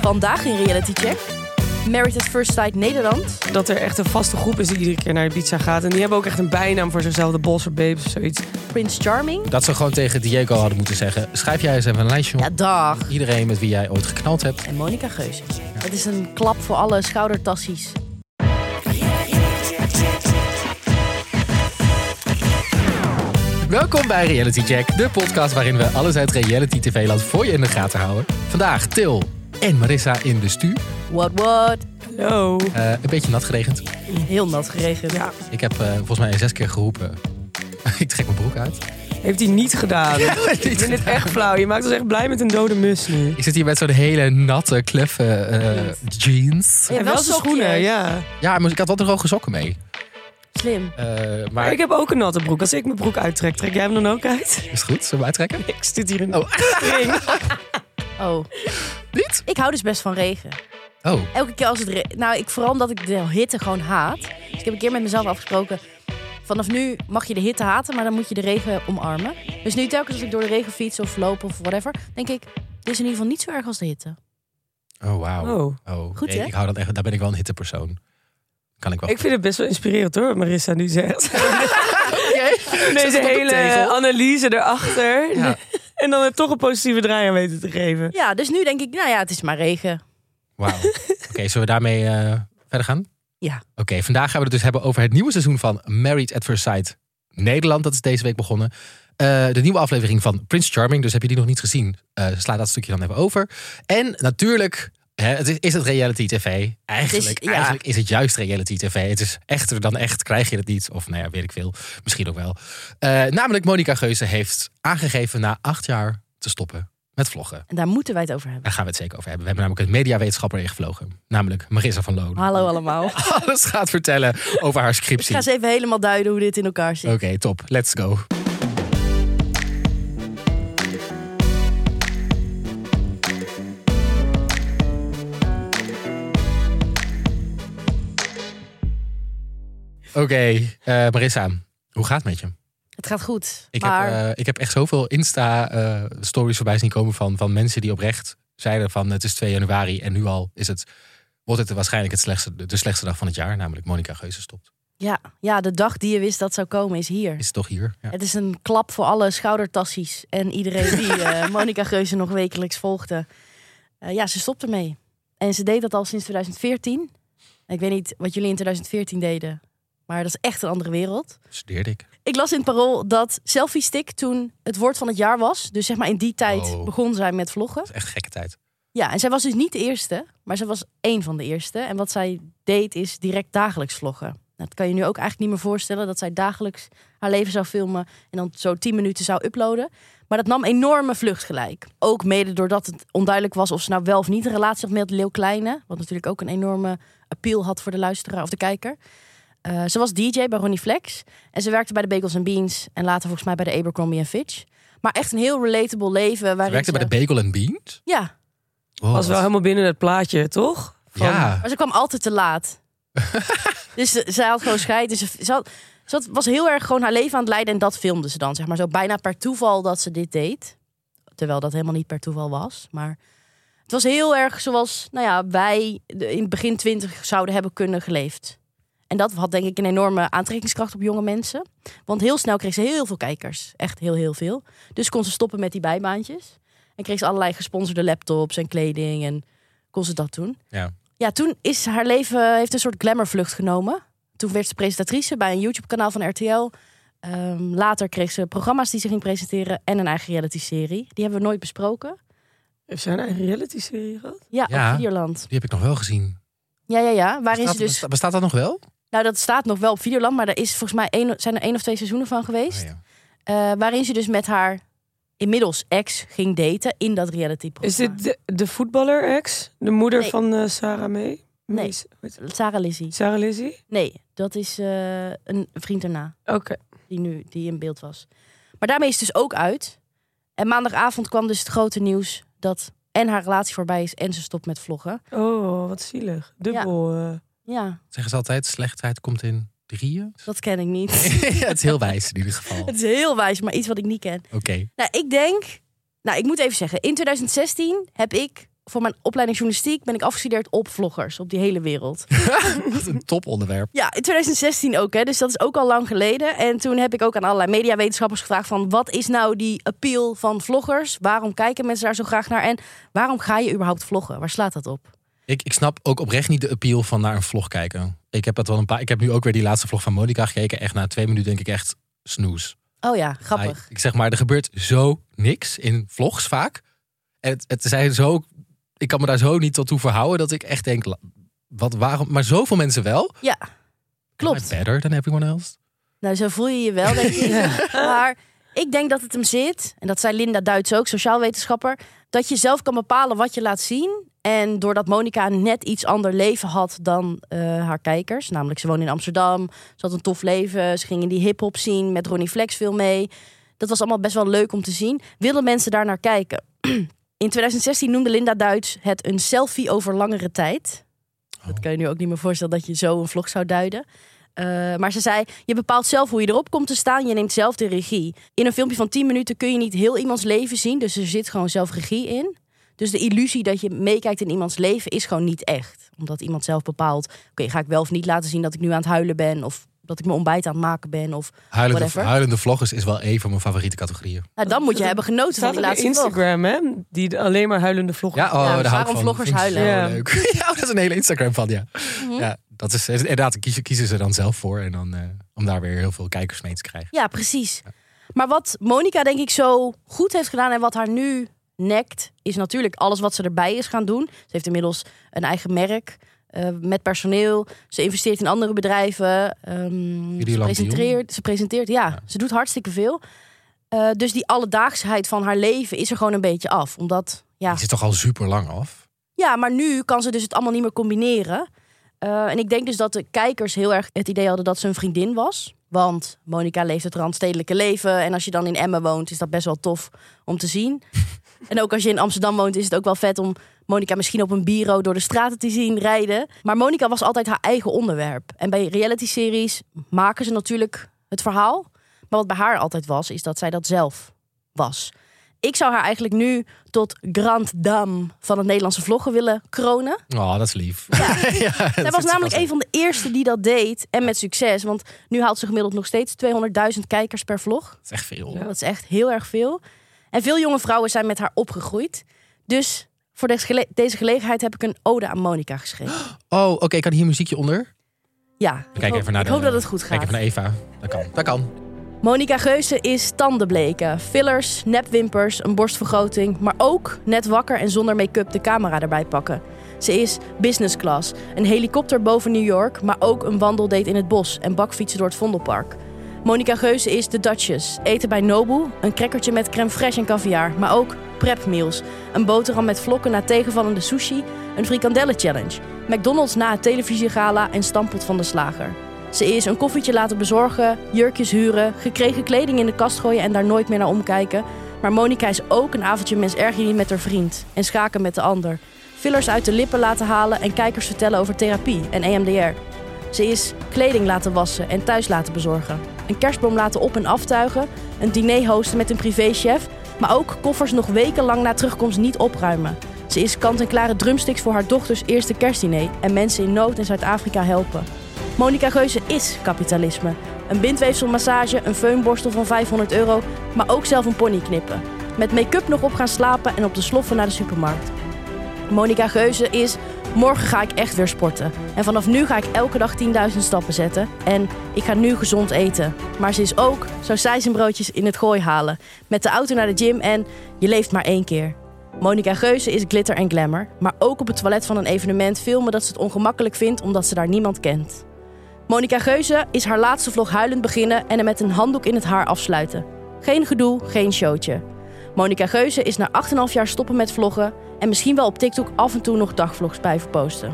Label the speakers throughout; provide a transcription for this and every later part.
Speaker 1: Vandaag in Reality Check. Married at First Sight Nederland.
Speaker 2: Dat er echt een vaste groep is die iedere keer naar de pizza gaat. En die hebben ook echt een bijnaam voor zichzelf, de Bolser Babes of zoiets.
Speaker 1: Prince Charming.
Speaker 3: Dat ze gewoon tegen Diego hadden moeten zeggen... schrijf jij eens even een lijstje op.
Speaker 1: Ja, dag.
Speaker 3: Iedereen met wie jij ooit geknald hebt.
Speaker 1: En Monica Geuze. Het is een klap voor alle schoudertassies.
Speaker 3: Welkom bij Reality Check, de podcast waarin we alles uit reality tv-land voor je in de gaten houden. Vandaag Til en Marissa in de stuur.
Speaker 1: What, what?
Speaker 2: Yo.
Speaker 3: Eh, een beetje nat geregend.
Speaker 1: Heel nat geregend.
Speaker 2: Ja,
Speaker 3: Ik heb eh, volgens mij zes keer geroepen. ik trek mijn broek uit.
Speaker 2: heeft hij niet gedaan. Oh, Ik vind het echt flauw. Je maakt ons echt blij met een dode mus nu.
Speaker 3: Ik zit hier met zo'n hele natte, kleffe eh, jeans.
Speaker 1: Ja,
Speaker 2: En
Speaker 1: wel sokjes.
Speaker 2: zijn schoenen, ja.
Speaker 3: Ja, maar ik had wel droge sokken mee.
Speaker 1: Slim.
Speaker 3: Eh,
Speaker 2: Maar
Speaker 3: maar
Speaker 2: ik heb ook een natte broek. Als ik mijn broek uittrek, trek jij hem dan ook uit?
Speaker 3: is het goed? Zullen we uittrekken?
Speaker 2: Ik zit hier in
Speaker 3: Oh.
Speaker 2: ring.
Speaker 1: Oh,
Speaker 3: Niet?
Speaker 1: ik hou dus best van regen.
Speaker 3: Oh,
Speaker 1: Elke keer als het re- Nou, ik, vooral omdat ik de hitte gewoon haat. Dus ik heb een keer met mezelf afgesproken. Vanaf nu mag je de hitte haten, maar dan moet je de regen omarmen. Dus nu telkens als ik door de regen fiets of loop of whatever, denk ik, dit is in ieder geval niet zo erg als de hitte.
Speaker 3: oh wauw.
Speaker 2: Oh.
Speaker 3: Oh.
Speaker 1: Goed,
Speaker 3: nee,
Speaker 1: hè?
Speaker 3: ik hou dat echt, daar ben ik wel een hittepersoon. Kan ik wel.
Speaker 2: Ik vind het best wel inspirerend hoor, wat Marissa nu zegt. Deze hele
Speaker 3: tegel?
Speaker 2: analyse erachter.
Speaker 3: Ja. Oh,
Speaker 2: En dan het toch een positieve draai aan weten te geven.
Speaker 1: Ja, dus nu denk ik, nou ja, het is maar regen.
Speaker 3: Wauw. Oké, zullen we daarmee eh, verder gaan?
Speaker 1: Ja.
Speaker 3: Oké, vandaag gaan we het dus hebben over het nieuwe seizoen van Married at First Sight Nederland. Dat is deze week begonnen. Eh, de nieuwe aflevering van Prince Charming. Dus heb je die nog niet gezien? eh, sla dat stukje dan even over. En natuurlijk, hè, het is, is het reality tv? Eigenlijk,
Speaker 1: Het is- ja.
Speaker 3: eigenlijk is het juist reality tv. Het is echter dan echt, krijg je het niet. Of nou ja, weet ik veel. Misschien ook wel. Eh, namelijk, Monica Geuze heeft aangegeven na acht jaar te stoppen met vloggen.
Speaker 1: En daar moeten wij het over hebben.
Speaker 3: Daar gaan we het zeker over hebben. We hebben namelijk een mediawetenschapper ingevlogen. Namelijk Marissa van Loon.
Speaker 1: Hallo allemaal. Ik
Speaker 3: Alles gaat vertellen over haar scriptie.
Speaker 1: ga eens even helemaal duiden hoe dit in elkaar zit.
Speaker 3: Oké, top. Let's go. Oké, eh, Marissa, hoe gaat het met je?
Speaker 1: Het gaat goed.
Speaker 3: Ik,
Speaker 1: maar
Speaker 3: heb, eh, ik heb echt zoveel Insta-stories voorbij zien komen van, van mensen die oprecht zeiden van het is 2 januari en nu al is het, wordt het waarschijnlijk het slechtste, de slechtste dag van het jaar, namelijk Monica Geuze stopt.
Speaker 1: ja, ja, de dag die je wist dat zou komen is hier.
Speaker 3: Is het toch hier? Ja.
Speaker 1: Het is een klap voor alle schoudertassies en iedereen die eh Monica Geuze nog wekelijks volgde. Eh, ja, ze stopte mee. En ze deed dat al sinds 2014. Ik weet niet wat jullie in 2014 deden, maar dat is echt een andere wereld.
Speaker 3: Studeerde ik.
Speaker 1: Ik las in het parool dat selfie stick toen het woord van het jaar was. Dus zeg maar in die tijd
Speaker 3: Oh.
Speaker 1: begon zij met vloggen.
Speaker 3: Dat is echt gekke tijd.
Speaker 1: Ja, en zij was dus niet de eerste, maar zij was één van de eerste. En wat zij deed is direct dagelijks vloggen. Nou, Dat kan je nu ook eigenlijk niet meer voorstellen dat zij dagelijks haar leven zou filmen en dan zo 10 minuten zou uploaden. Maar dat nam enorme vlucht gelijk. Ook mede doordat het onduidelijk was of ze nou wel of niet een relatie had met Leeuw Kleine. Wat natuurlijk ook een enorme appeal had voor de luisteraar of de kijker. Eh, ze was DJ bij Ronnie Flex. En ze werkte bij de Bagels Beans. En later volgens mij bij de Abercrombie Fitch. Maar echt een heel relatable leven.
Speaker 3: Ze
Speaker 1: waarin
Speaker 3: werkte bij
Speaker 1: ze-
Speaker 3: de Bagel and Beans.
Speaker 1: Ja,
Speaker 3: Wow,
Speaker 2: Was wel
Speaker 3: wat-
Speaker 2: helemaal binnen het plaatje, toch? Van-
Speaker 3: Ja,
Speaker 1: Maar ze kwam altijd te laat. dus ze- zij had gewoon scheid. Dus ze, ze, had- ze had- was heel erg gewoon haar leven aan het leiden. En dat filmde ze dan, zeg maar. Zo bijna per toeval dat ze dit deed. Terwijl dat helemaal niet per toeval was. Maar het was heel erg zoals nou ja, wij de- in het begin twintig zouden hebben kunnen geleefd. En dat had denk ik een enorme aantrekkingskracht op jonge mensen. Want heel snel kreeg ze heel veel kijkers. Echt heel, heel veel. Dus kon ze stoppen met die bijbaantjes. En kreeg ze allerlei gesponsorde laptops en kleding. En kon ze dat doen.
Speaker 3: Ja.
Speaker 1: ja toen is haar leven heeft een soort glamourvlucht genomen. Toen werd ze presentatrice bij een YouTube-kanaal van RTL. Ehm, later kreeg ze programma's die ze ging presenteren. En een eigen reality-serie. Die hebben we nooit besproken.
Speaker 2: Heeft zij een eigen reality-serie gehad?
Speaker 1: Ja,
Speaker 3: Ja.
Speaker 1: op Videoland.
Speaker 3: die heb ik nog wel gezien.
Speaker 1: Ja, ja, ja. Waarin ze
Speaker 3: Bestaat,
Speaker 1: dus...
Speaker 3: besta- bestaat dat nog wel?
Speaker 1: Nou, dat staat nog wel op Videoland. Maar daar is volgens mij één, zijn er één of twee seizoenen van geweest.
Speaker 3: Oh, ja.
Speaker 1: Eh, waarin ze dus met haar inmiddels ex ging daten in dat reality-programma.
Speaker 2: Is dit de, de voetballer-ex? De moeder
Speaker 1: Nee.
Speaker 2: van eh, Sarah May?
Speaker 1: Nee.
Speaker 2: Mees- hoe heet ze?
Speaker 1: Sarah Lizzie.
Speaker 2: Sarah Lizzie?
Speaker 1: Nee, dat is eh, een vriend daarna.
Speaker 2: Oké.
Speaker 1: die nu die in beeld was. Maar daarmee is het dus ook uit. En maandagavond kwam dus het grote nieuws dat en haar relatie voorbij is en ze stopt met vloggen.
Speaker 2: Oh, wat zielig. Dubbel. eh.
Speaker 1: Ja,
Speaker 3: Zeggen ze altijd, slechtheid komt in drieën?
Speaker 1: dat ken ik niet.
Speaker 3: ja, het is heel wijs in ieder geval.
Speaker 1: het
Speaker 3: Oké.
Speaker 1: is heel wijs, maar iets wat ik niet ken. Nou, ik denk, nou, ik moet even zeggen, in 2016 heb ik voor mijn opleiding journalistiek ben ik afgestudeerd op vloggers op die hele wereld.
Speaker 3: Wat een toponderwerp.
Speaker 1: Ja, in 2016 ook, hè, dus dat is ook al lang geleden. En toen heb ik ook aan allerlei mediawetenschappers gevraagd van... wat is nou die appeal van vloggers? Waarom kijken mensen daar zo graag naar? En waarom ga je überhaupt vloggen? Waar slaat dat op?
Speaker 3: Ik, ik snap ook oprecht niet de appeal van naar een vlog kijken. Ik heb, dat wel een paar, ik heb nu ook weer die laatste vlog van Monica gekeken. Echt na twee minuten denk ik echt snoes.
Speaker 1: Oh ja, grappig.
Speaker 3: Hij- ik zeg maar, er gebeurt zo niks in vlogs vaak. En het, het zijn zo, ik kan me daar zo niet tot toe verhouden dat ik echt denk, la- wat, waarom? Maar zoveel mensen wel.
Speaker 1: Ja,
Speaker 3: Am I
Speaker 1: klopt.
Speaker 3: Better than everyone else.
Speaker 1: Nou, zo voel je je wel, denk ik. Maar ik denk dat het hem zit, en dat zei Linda Duits ook, sociaal wetenschapper... dat je zelf kan bepalen wat je laat zien. En doordat Monica een net iets ander leven had dan eh, haar kijkers... namelijk ze woonde in Amsterdam, ze had een tof leven... ze ging in die hip-hop scene met Ronnie Flex veel mee. Dat was allemaal best wel leuk om te zien. Wilden mensen daar naar kijken? In 2016 noemde Linda Duits het een selfie over langere tijd. Dat kan je nu ook niet meer voorstellen dat je zo een vlog zou duiden. Eh, maar ze zei, je bepaalt zelf hoe je erop komt te staan. Je neemt zelf de regie. In een filmpje van 10 minuten kun je niet heel iemands leven zien. Dus er zit gewoon zelf regie in. Dus de illusie dat je meekijkt in iemands leven is gewoon niet echt. Omdat iemand zelf bepaalt, oké, ga ik wel of niet laten zien dat ik nu aan het huilen ben. Of dat ik mijn ontbijt aan het maken ben. Of,
Speaker 3: Huilende,
Speaker 1: Whatever.
Speaker 3: huilende vloggers is wel een van mijn favoriete categorieën.
Speaker 1: nou, dan moet je hebben genoten van
Speaker 2: staat
Speaker 1: die
Speaker 2: ook op
Speaker 1: laatste vlog.
Speaker 2: Instagram, hè? Die de- alleen maar huilende vloggen.
Speaker 3: Ja, oh,
Speaker 1: dus
Speaker 3: daar hou ik
Speaker 1: waarom
Speaker 3: van.
Speaker 1: vloggers
Speaker 3: Vind ik
Speaker 1: huilen? Mhm.
Speaker 3: zo
Speaker 2: Ja.
Speaker 3: Leuk. ja, dat is een hele Instagram van, ja. ja dat is, eh, inderdaad, kiezen, kiezen ze dan zelf voor. En dan, eh, om daar weer heel veel kijkers mee te krijgen.
Speaker 1: Ja, precies. Maar wat Monica denk ik zo goed heeft gedaan en wat haar nu nekt, is natuurlijk alles wat ze erbij is gaan doen. Ze heeft inmiddels een eigen merk eh, met personeel. Ze investeert in andere bedrijven. ehm, ze,
Speaker 3: Videoland
Speaker 1: presenteert, ze presenteert, ja,
Speaker 3: Ja.
Speaker 1: ze doet hartstikke veel. Eh, dus die alledaagsheid van haar leven is er gewoon een beetje af. Omdat, ja,
Speaker 3: Die zit toch al super lang af?
Speaker 1: ja, maar nu kan ze dus het allemaal niet meer combineren. Eh, en ik denk dus dat de kijkers heel erg het idee hadden dat ze een vriendin was. Want Monica leeft het randstedelijke leven. En als je dan in Emmen woont, is dat best wel tof om te zien. en ook als je in Amsterdam woont, is het ook wel vet om Monica misschien op een bureau door de straten te zien rijden. Maar Monica was altijd haar eigen onderwerp. En bij reality-series maken ze natuurlijk het verhaal. Maar wat bij haar altijd was, is dat zij dat zelf was. Ik zou haar eigenlijk nu tot grand dame van het Nederlandse vloggen willen kronen.
Speaker 3: Oh, dat is lief.
Speaker 1: Zij was namelijk een van de eerste die dat deed. En met succes. Want nu haalt ze gemiddeld nog steeds 200.000 kijkers per vlog.
Speaker 3: Dat is echt veel.
Speaker 1: Dat is echt heel erg veel. En veel jonge vrouwen zijn met haar opgegroeid. Dus voor deze, gele- deze gelegenheid heb ik een ode aan Monica geschreven.
Speaker 3: Oh, oké, kan hier muziekje onder?
Speaker 1: Ja, ik
Speaker 3: Kijk
Speaker 1: hoop,
Speaker 3: even naar
Speaker 1: ik
Speaker 3: de-
Speaker 1: hoop dat het goed
Speaker 3: Kijk
Speaker 1: gaat.
Speaker 3: even naar Eva. Dat kan. Dat kan.
Speaker 1: Monica Geuze is tandenbleken, fillers, nepwimpers, een borstvergroting, maar ook net wakker en zonder make-up de camera erbij pakken. Ze is business class, een helikopter boven New York, maar ook een wandeldate in het bos en bakfietsen door het Vondelpark. Monica Geuze is de Duchess, eten bij Nobu, een crackertje met crème fraîche en caviar, maar ook prep meals, een boterham met vlokken na tegenvallende sushi, een frikandellen challenge, McDonald's na het televisiegala en stampot van de slager. Ze is een koffietje laten bezorgen, jurkjes huren, gekregen kleding in de kast gooien en daar nooit meer naar omkijken. Maar Monica is ook een avondje mens erg niet met haar vriend en schaken met de ander. Fillers uit de lippen laten halen en kijkers vertellen over therapie en E EMDR. Ze is kleding laten wassen en thuis laten bezorgen. Een kerstboom laten op- en aftuigen, een diner hosten met een privéchef, maar ook koffers nog wekenlang na terugkomst niet opruimen. Ze is kant-en-klare drumsticks voor haar dochters eerste kerstdiner en mensen in nood in Zuid-Afrika helpen. Monica Geuze is kapitalisme. Een bindweefselmassage, een feunborstel van 500 euro, maar ook zelf een pony knippen. Met make-up nog op gaan slapen en op de sloffen naar de supermarkt. Monica Geuze is, morgen ga ik echt weer sporten. En vanaf nu ga ik elke dag 10.000 stappen zetten. En ik ga nu gezond eten. Maar ze is ook broodjes in het gooi halen. Met de auto naar de gym en je leeft maar één keer. Monica Geuze is glitter en glamour. Maar ook op het toilet van een evenement filmen dat ze het ongemakkelijk vindt omdat ze daar niemand kent. Monica Geuze is haar laatste vlog huilend beginnen en hem met een handdoek in het haar afsluiten. Geen gedoe, geen showtje. Monica Geuze is na 8,5 jaar stoppen met vloggen en misschien wel op TikTok af en toe nog dagvlogs bij verposten.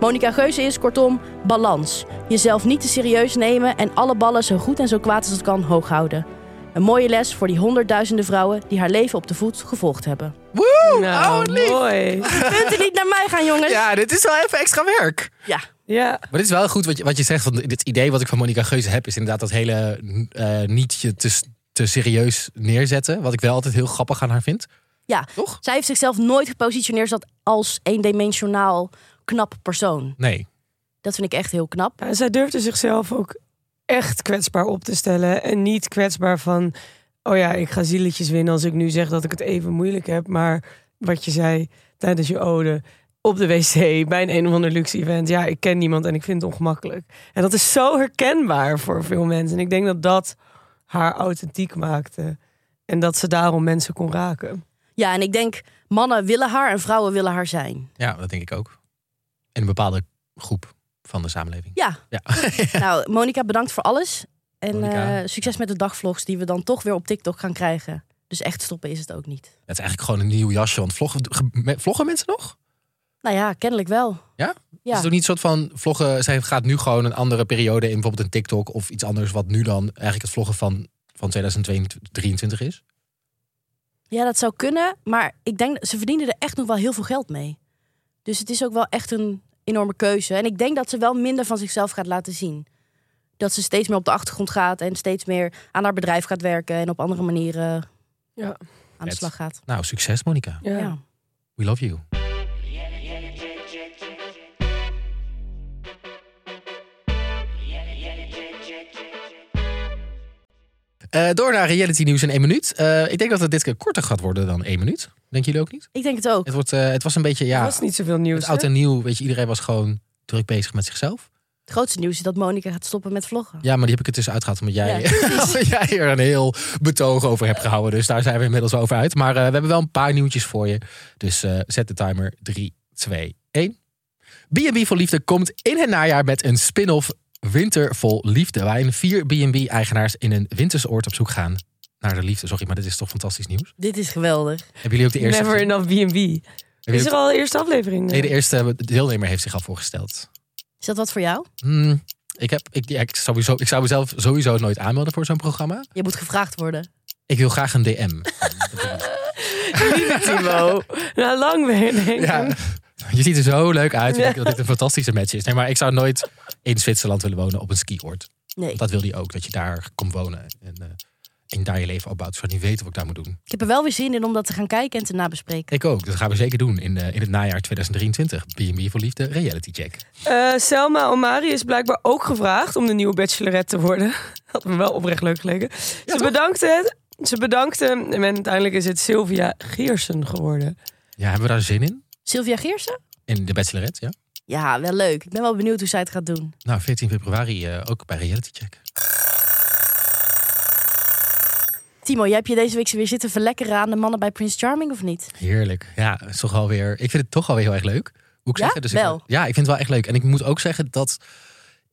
Speaker 1: Monica Geuze is kortom balans. Jezelf niet te serieus nemen en alle ballen zo goed en zo kwaad als het kan hoog houden. Een mooie les voor die honderdduizenden vrouwen die haar leven op de voet gevolgd hebben.
Speaker 3: Woe!
Speaker 2: Nou,
Speaker 3: oh, lief.
Speaker 2: mooi.
Speaker 1: Punten niet naar mij gaan, jongens.
Speaker 3: Ja, dit is wel even extra werk.
Speaker 1: ja.
Speaker 2: Ja.
Speaker 3: Maar dit is wel goed wat je, wat je zegt. Want dit idee wat ik van Monica Geuze heb, is inderdaad dat hele eh, niet je te, te serieus neerzetten. Wat ik wel altijd heel grappig aan haar vind.
Speaker 1: Ja.
Speaker 3: Toch?
Speaker 1: Zij heeft zichzelf nooit gepositioneerd als- als eendimensionaal knap persoon.
Speaker 3: Nee.
Speaker 1: Dat vind ik echt heel knap.
Speaker 2: Ja, en Nou, zij durfde zichzelf ook echt kwetsbaar op te stellen. En niet kwetsbaar van... Oh ja, ik ga zieletjes winnen als ik nu zeg dat ik het even moeilijk heb. Maar wat je zei tijdens je ode... Op de wc, bij een een of ander luxe event. Ja, ik ken niemand en ik vind het ongemakkelijk. En dat is zo herkenbaar voor veel mensen. En ik denk dat dat haar authentiek maakte. En dat ze daarom mensen kon raken.
Speaker 1: Ja, en ik denk mannen willen haar en vrouwen willen haar zijn.
Speaker 3: Ja, dat denk ik ook. In een bepaalde groep van de samenleving.
Speaker 1: Ja.
Speaker 3: Ja.
Speaker 1: Nou, Monika, bedankt voor alles. En
Speaker 3: Monica.
Speaker 1: eh, succes met de dagvlogs die we dan toch weer op TikTok gaan krijgen. Dus echt stoppen is het ook niet.
Speaker 3: Het is eigenlijk gewoon een nieuw jasje. Want vloggen, ge- me- vloggen mensen nog?
Speaker 1: Nou ja, kennelijk wel.
Speaker 3: Ja? Is
Speaker 1: Ja.
Speaker 3: het ook niet een soort van vloggen? Zij gaat nu gewoon een andere periode in, bijvoorbeeld een TikTok of iets anders, wat nu dan eigenlijk het vloggen van, van 2023 is?
Speaker 1: ja, dat zou kunnen. Maar ik denk, ze verdienen er echt nog wel heel veel geld mee. Dus het is ook wel echt een enorme keuze. En ik denk dat ze wel minder van zichzelf gaat laten zien. Dat ze steeds meer op de achtergrond gaat en steeds meer aan haar bedrijf gaat werken en op andere manieren
Speaker 2: Ja.
Speaker 1: aan de
Speaker 3: Vet.
Speaker 1: slag gaat.
Speaker 3: Nou, succes, Monica.
Speaker 2: Ja.
Speaker 1: ja.
Speaker 3: We love you. Eh, door naar reality nieuws in één minuut. Eh, ik denk dat het dit keer korter gaat worden dan één minuut. Denken jullie ook niet?
Speaker 1: Ik denk het ook.
Speaker 3: Het, wordt, eh, het was een beetje,
Speaker 2: Er
Speaker 3: ja,
Speaker 2: was niet zoveel nieuws.
Speaker 3: het oud
Speaker 2: hè?
Speaker 3: en nieuw. Weet je, iedereen was gewoon druk bezig met zichzelf.
Speaker 1: Het grootste nieuws is dat Monica gaat stoppen met vloggen.
Speaker 3: Ja, maar die heb ik er tussenuit gehad omdat jij,
Speaker 1: Ja,
Speaker 3: omdat jij er een heel betoog over hebt gehouden. Dus daar zijn we inmiddels over uit. Maar eh, we hebben wel een paar nieuwtjes voor je. Dus eh, zet de timer 3, 2, 1. B&B voor Liefde komt in het najaar met een spin-off Winter vol Liefde. Waarin vier B&B-eigenaars in een winterse oord op zoek gaan naar de liefde. Sorry, maar dit is toch fantastisch nieuws?
Speaker 1: Dit is geweldig.
Speaker 3: Hebben jullie ook de eerste...
Speaker 2: Never
Speaker 3: gezien?
Speaker 2: enough B&B.
Speaker 3: Hebben
Speaker 2: Is
Speaker 3: jullie
Speaker 2: er
Speaker 3: ook-
Speaker 2: al een eerste aflevering? eh?
Speaker 3: Nee, de eerste eh, deelnemer heeft zich al voorgesteld.
Speaker 1: Is dat wat voor jou?
Speaker 3: Hmm, ik, heb, ik, ja, ik, sowieso, ik zou mezelf sowieso nooit aanmelden voor zo'n programma.
Speaker 1: Je moet gevraagd worden.
Speaker 3: Ik wil graag een DM.
Speaker 2: Timo. Na lang weer denken.
Speaker 3: Ja. Je ziet er zo leuk uit. Ik denk dat dit een fantastische match is. Nee, maar ik zou nooit in Zwitserland willen wonen op een skioord.
Speaker 1: Nee.
Speaker 3: Want dat wil hij ook, dat je daar komt wonen. En, eh, en daar je leven opbouwt. Ik zou niet weten wat ik daar moet doen.
Speaker 1: Ik heb er wel weer zin in om dat te gaan kijken en te nabespreken.
Speaker 3: Ik ook. Dat gaan we zeker doen in, eh, in het najaar 2023. B&B voor Liefde, reality check.
Speaker 2: Eh, Selma Omari is blijkbaar ook gevraagd om de nieuwe bachelorette te worden. Had me wel oprecht leuk geleken. ze bedankte het. Ze bedankte hem en uiteindelijk is het Sylvia Geersen geworden.
Speaker 3: Ja, hebben we daar zin in?
Speaker 1: Sylvia Geersen?
Speaker 3: In de Bachelorette, ja?
Speaker 1: Ja, wel leuk. Ik ben wel benieuwd hoe zij het gaat doen.
Speaker 3: Nou, 14 februari eh, ook bij reality check.
Speaker 1: Timo, jij hebt je deze week weer zitten verlekkeren aan de mannen bij Prince Charming of niet?
Speaker 3: Heerlijk. Ja, het is toch alweer. Ik vind het toch alweer heel erg leuk. Moet ik
Speaker 1: Ja?
Speaker 3: zeggen. Dus
Speaker 1: Wel.
Speaker 3: Ik, ja, ik vind het wel echt leuk. En ik moet ook zeggen dat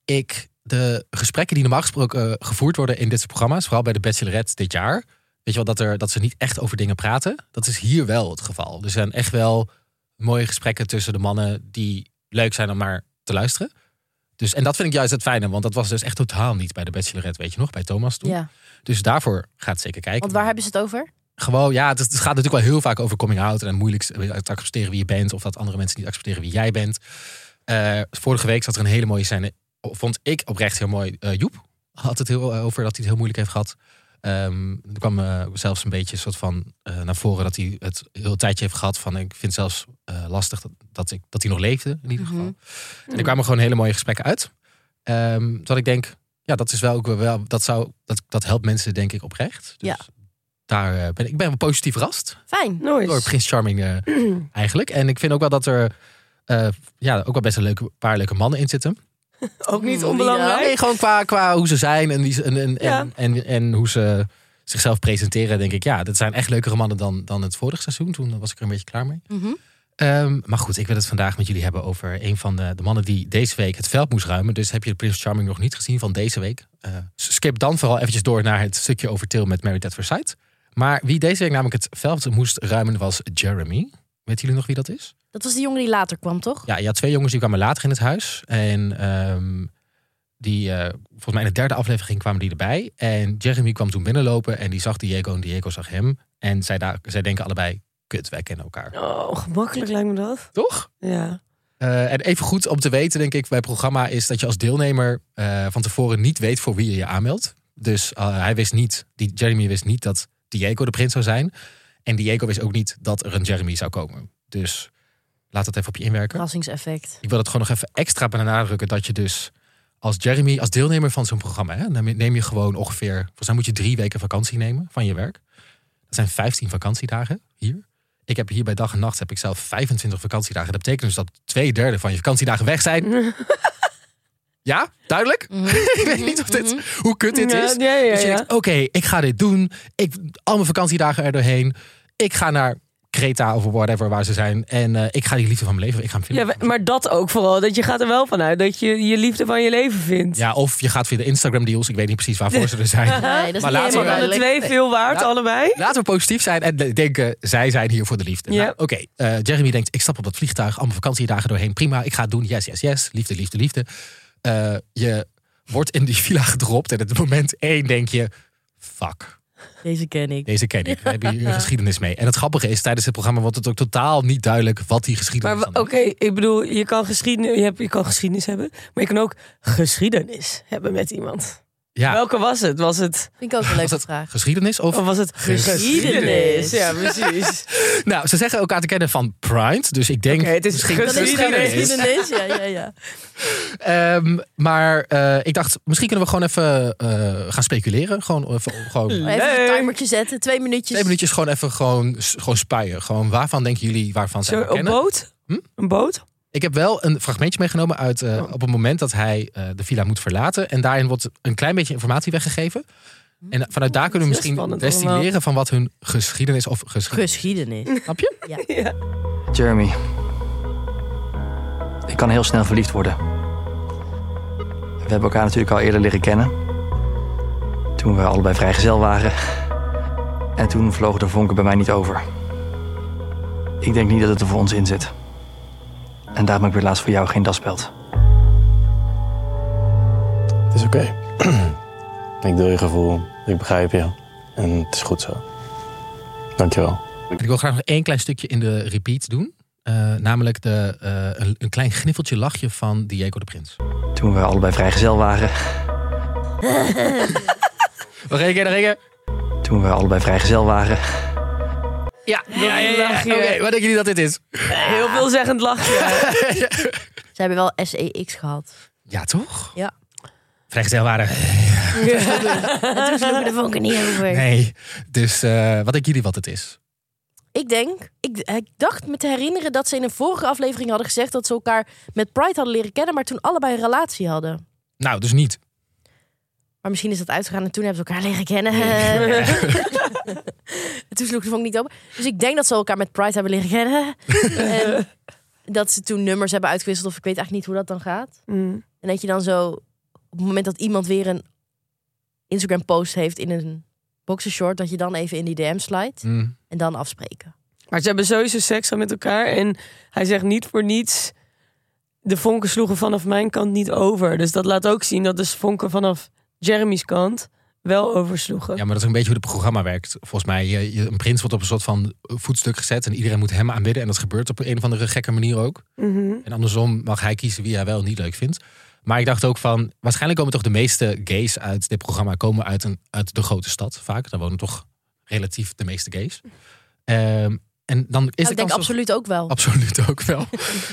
Speaker 3: ik de gesprekken die normaal gesproken eh, gevoerd worden in dit soort programma's, vooral bij de Bachelorette dit jaar, weet je wel, dat, er, dat ze niet echt over dingen praten. Dat is hier wel het geval. Er zijn echt wel mooie gesprekken tussen de mannen die leuk zijn om maar te luisteren. Dus, en dat vind ik juist het fijne, want dat was dus echt totaal niet bij de Bachelorette, weet je nog, bij Thomas toen.
Speaker 1: Ja.
Speaker 3: Dus daarvoor gaat het zeker kijken.
Speaker 1: Want waar hebben ze het over?
Speaker 3: Gewoon, ja, het, is- het gaat natuurlijk wel heel vaak over coming out en moeilijk te accepteren wie je bent of dat andere mensen niet accepteren wie jij bent. Eh, vorige week zat er een hele mooie scène, vond ik oprecht heel mooi. Eh, Joep had het heel eh, over dat hij het heel moeilijk heeft gehad. Ehm, er kwam eh, zelfs een beetje een soort van eh, naar voren dat hij het heel tijdje heeft gehad van ik vind het zelfs eh, lastig dat, dat, ik, dat hij nog leefde in ieder geval.
Speaker 1: Mhm.
Speaker 3: En er kwamen gewoon hele mooie gesprekken uit. Ehm dat ik denk, ja, dat is wel ook wel, dat, zou, dat, dat helpt mensen denk ik oprecht. Dus
Speaker 1: Ja.
Speaker 3: daar eh, ben ik, ik ben wel positief verrast
Speaker 1: Fijn.
Speaker 3: door
Speaker 2: Nooit.
Speaker 3: Prins Charming eh, eigenlijk. En ik vind ook wel dat er eh, ja, ook wel best een leuke, paar leuke mannen in zitten.
Speaker 2: Ook niet
Speaker 1: Wie
Speaker 2: onbelangrijk.
Speaker 3: Nee, gewoon qua, qua hoe ze zijn en, wie ze- en, en,
Speaker 2: Ja.
Speaker 3: en, en, en hoe ze zichzelf presenteren, denk ik, ja, dat zijn echt leukere mannen dan, dan het vorige seizoen. Toen was ik er een beetje klaar mee.
Speaker 1: Mhm.
Speaker 3: Ehm, maar goed, ik wil het vandaag met jullie hebben over een van de, de mannen die deze week het veld moest ruimen. Dus heb je de Prince Charming nog niet gezien van deze week? eh, skip dan vooral eventjes door naar het stukje over Til met Married at First Sight. Maar wie deze week namelijk het veld moest ruimen was Jeremy. Weet jullie nog wie dat is?
Speaker 1: Dat was de jongen die later kwam, toch?
Speaker 3: Ja, je had twee jongens die kwamen later in het huis. En ehm, die, eh, volgens mij in de derde aflevering kwamen die erbij. En Jeremy kwam toen binnenlopen en die zag Diego en Diego zag hem. En zij, daar, zij denken allebei, kut, wij kennen elkaar.
Speaker 2: Oh, gemakkelijk lijkt me dat.
Speaker 3: Toch?
Speaker 2: Ja.
Speaker 3: Eh, en even goed om te weten, denk ik, bij het programma is dat je als deelnemer eh, van tevoren niet weet voor wie je je aanmeldt. Dus eh, hij wist niet, die Jeremy wist niet dat Diego de prins zou zijn. En Diego wist ook niet dat er een Jeremy zou komen. Dus laat dat even op je inwerken.
Speaker 1: Verrassingseffect.
Speaker 3: Ik wil dat gewoon nog even extra benadrukken. Dat je dus als Jeremy, als deelnemer van zo'n programma, hè, dan neem je gewoon ongeveer, volgens mij moet je drie weken vakantie nemen van je werk. Dat zijn 15 vakantiedagen hier. Ik heb hier bij dag en nacht heb ik zelf 25 vakantiedagen. Dat betekent dus dat twee derde van je vakantiedagen weg zijn. ja, duidelijk.
Speaker 1: Mhm.
Speaker 3: ik weet niet of dit, hoe kut dit
Speaker 2: Mhm. Ja,
Speaker 3: is.
Speaker 2: ja, ja,
Speaker 3: dus je
Speaker 2: ja.
Speaker 3: denkt, oké, ik ga dit doen. Ik, al mijn vakantiedagen er doorheen. Ik ga naar Creta of whatever waar ze zijn. En eh, ik ga die liefde van mijn leven, ik ga hem vinden.
Speaker 2: Ja, maar dat ook vooral. Dat je gaat er wel vanuit dat je je liefde van je leven vindt.
Speaker 3: Ja, of je gaat via de Instagram deals. Ik weet niet precies waarvoor ze er
Speaker 1: Nee, dat is
Speaker 3: zijn. Maar
Speaker 1: niet
Speaker 3: laten
Speaker 1: helemaal
Speaker 3: we-
Speaker 2: Van de
Speaker 1: duidelijk.
Speaker 2: twee veel waard,
Speaker 3: Ja.
Speaker 2: allebei.
Speaker 3: Laten we positief zijn en denken, zij zijn hier voor de liefde.
Speaker 2: Ja.
Speaker 3: Nou, Oké, eh, Jeremy denkt, ik stap op dat vliegtuig, allemaal vakantiedagen doorheen. Prima, ik ga het doen. Yes, yes, yes. Liefde, liefde, liefde. Eh, je wordt in die villa gedropt en op het moment één denk je, fuck.
Speaker 1: Deze ken ik.
Speaker 3: Deze ken ik. Daar heb je een geschiedenis mee. En het grappige is, tijdens het programma wordt het ook totaal niet duidelijk wat die geschiedenis
Speaker 2: Maar w-
Speaker 3: is.
Speaker 2: oké, ik bedoel, je kan, geschiedenis, je, hebt, je kan geschiedenis hebben, maar je kan ook geschiedenis hebben met iemand.
Speaker 3: ja,
Speaker 2: Welke was het? Was het,
Speaker 1: Vind ik ook een leuke
Speaker 3: dat-
Speaker 1: vraag.
Speaker 3: geschiedenis of...
Speaker 2: of was het
Speaker 1: Geschiedenis.
Speaker 2: Ja, precies.
Speaker 3: Nou, ze zeggen elkaar te kennen van Pride. Dus ik denk...
Speaker 2: Oké, het is
Speaker 3: misschien
Speaker 1: Dat is
Speaker 2: Geschiedenis.
Speaker 1: geschiedenis. Ja, ja, ja.
Speaker 3: Ehm, maar eh, ik dacht, misschien kunnen we gewoon even eh, gaan speculeren. Gewoon, even, gewoon
Speaker 1: Maar even een
Speaker 2: Leuk.
Speaker 1: timertje zetten. Twee minuutjes.
Speaker 3: twee minuutjes gewoon even gewoon, s- gewoon spuien. Gewoon waarvan denken jullie, waarvan zij
Speaker 2: Zo,
Speaker 3: elkaar
Speaker 2: een
Speaker 3: kennen?
Speaker 2: boot?
Speaker 3: Hm?
Speaker 2: Een boot?
Speaker 3: Ik heb wel een fragmentje meegenomen uit eh,
Speaker 2: Oh.
Speaker 3: op het moment dat hij eh, de villa moet verlaten. En daarin wordt een klein beetje informatie weggegeven. En vanuit daar kunnen we
Speaker 2: Oh, Dat is
Speaker 3: misschien
Speaker 2: spannend allemaal.
Speaker 3: destilleren van wat hun geschiedenis of geschiedenis.
Speaker 1: Geschiedenis.
Speaker 3: Snap je?
Speaker 2: Ja.
Speaker 4: Jeremy. Ik kan heel snel verliefd worden. We hebben elkaar natuurlijk al eerder leren kennen. Toen we allebei vrijgezel waren. En toen vlogen de vonken bij mij niet over. Ik denk niet dat het er voor ons in zit. En daarom heb ik helaas voor jou geen daspeld.
Speaker 5: Het is oké. ik deel je gevoel. Ik begrijp je. En het is goed zo. Dankjewel.
Speaker 3: En ik wil graag nog één klein stukje in de repeat doen. Eh, namelijk de, eh, een, een klein gniffeltje lachje van Diego de Prins.
Speaker 4: Toen we allebei vrijgezel waren.
Speaker 3: Nog één keer, nog één keer.
Speaker 4: Toen we allebei vrijgezel waren.
Speaker 3: Ja, ja, ja, ja.
Speaker 2: lach
Speaker 3: Oké,
Speaker 2: je.
Speaker 3: wat denken jullie dat dit is?
Speaker 2: Heel veelzeggend lachje.
Speaker 1: Ze hebben wel SEX gehad.
Speaker 3: Ja, toch?
Speaker 1: Ja.
Speaker 3: Vrijgezel waren.
Speaker 1: En toen sloegen de vonken niet over.
Speaker 3: Nee. Dus eh, wat denken jullie wat het is?
Speaker 1: Ik denk, ik, ik dacht me te herinneren dat ze in een vorige aflevering hadden gezegd dat ze elkaar met Pride hadden leren kennen, maar toen allebei een relatie hadden.
Speaker 3: Nou, dus niet.
Speaker 1: Maar misschien is dat uitgegaan en toen hebben ze elkaar leren kennen. en toen sloeg de vonk niet over. Dus ik denk dat ze elkaar met Pride hebben leren kennen. en dat ze toen nummers hebben uitgewisseld of ik weet eigenlijk niet hoe dat dan gaat.
Speaker 2: Mm.
Speaker 1: En dat je dan zo, op het moment dat iemand weer een Instagram post heeft in een boxershort, dat je dan even in die DM slijt
Speaker 3: Mm.
Speaker 1: en dan afspreken.
Speaker 2: Maar ze hebben sowieso seks al met elkaar. En hij zegt niet voor niets. De vonken sloegen vanaf mijn kant niet over. Dus dat laat ook zien dat de vonken vanaf Jeremy's kant wel oversloegen.
Speaker 3: Ja, maar dat is een beetje hoe het programma werkt. Volgens mij, je, je- een prins wordt op een soort van voetstuk gezet en iedereen moet hem aanbidden. En dat gebeurt op een of andere gekke manier ook.
Speaker 2: Mhm.
Speaker 3: En andersom mag hij kiezen wie hij wel en niet leuk vindt. Maar ik dacht ook van, waarschijnlijk komen toch de meeste gays uit dit programma komen uit, een, uit de grote stad vaak. Daar wonen toch relatief de meeste gays. Ehm, en dan is
Speaker 1: Nou,
Speaker 3: de
Speaker 1: ik denk
Speaker 3: kans toch-
Speaker 1: absoluut ook wel.
Speaker 3: Absoluut ook wel.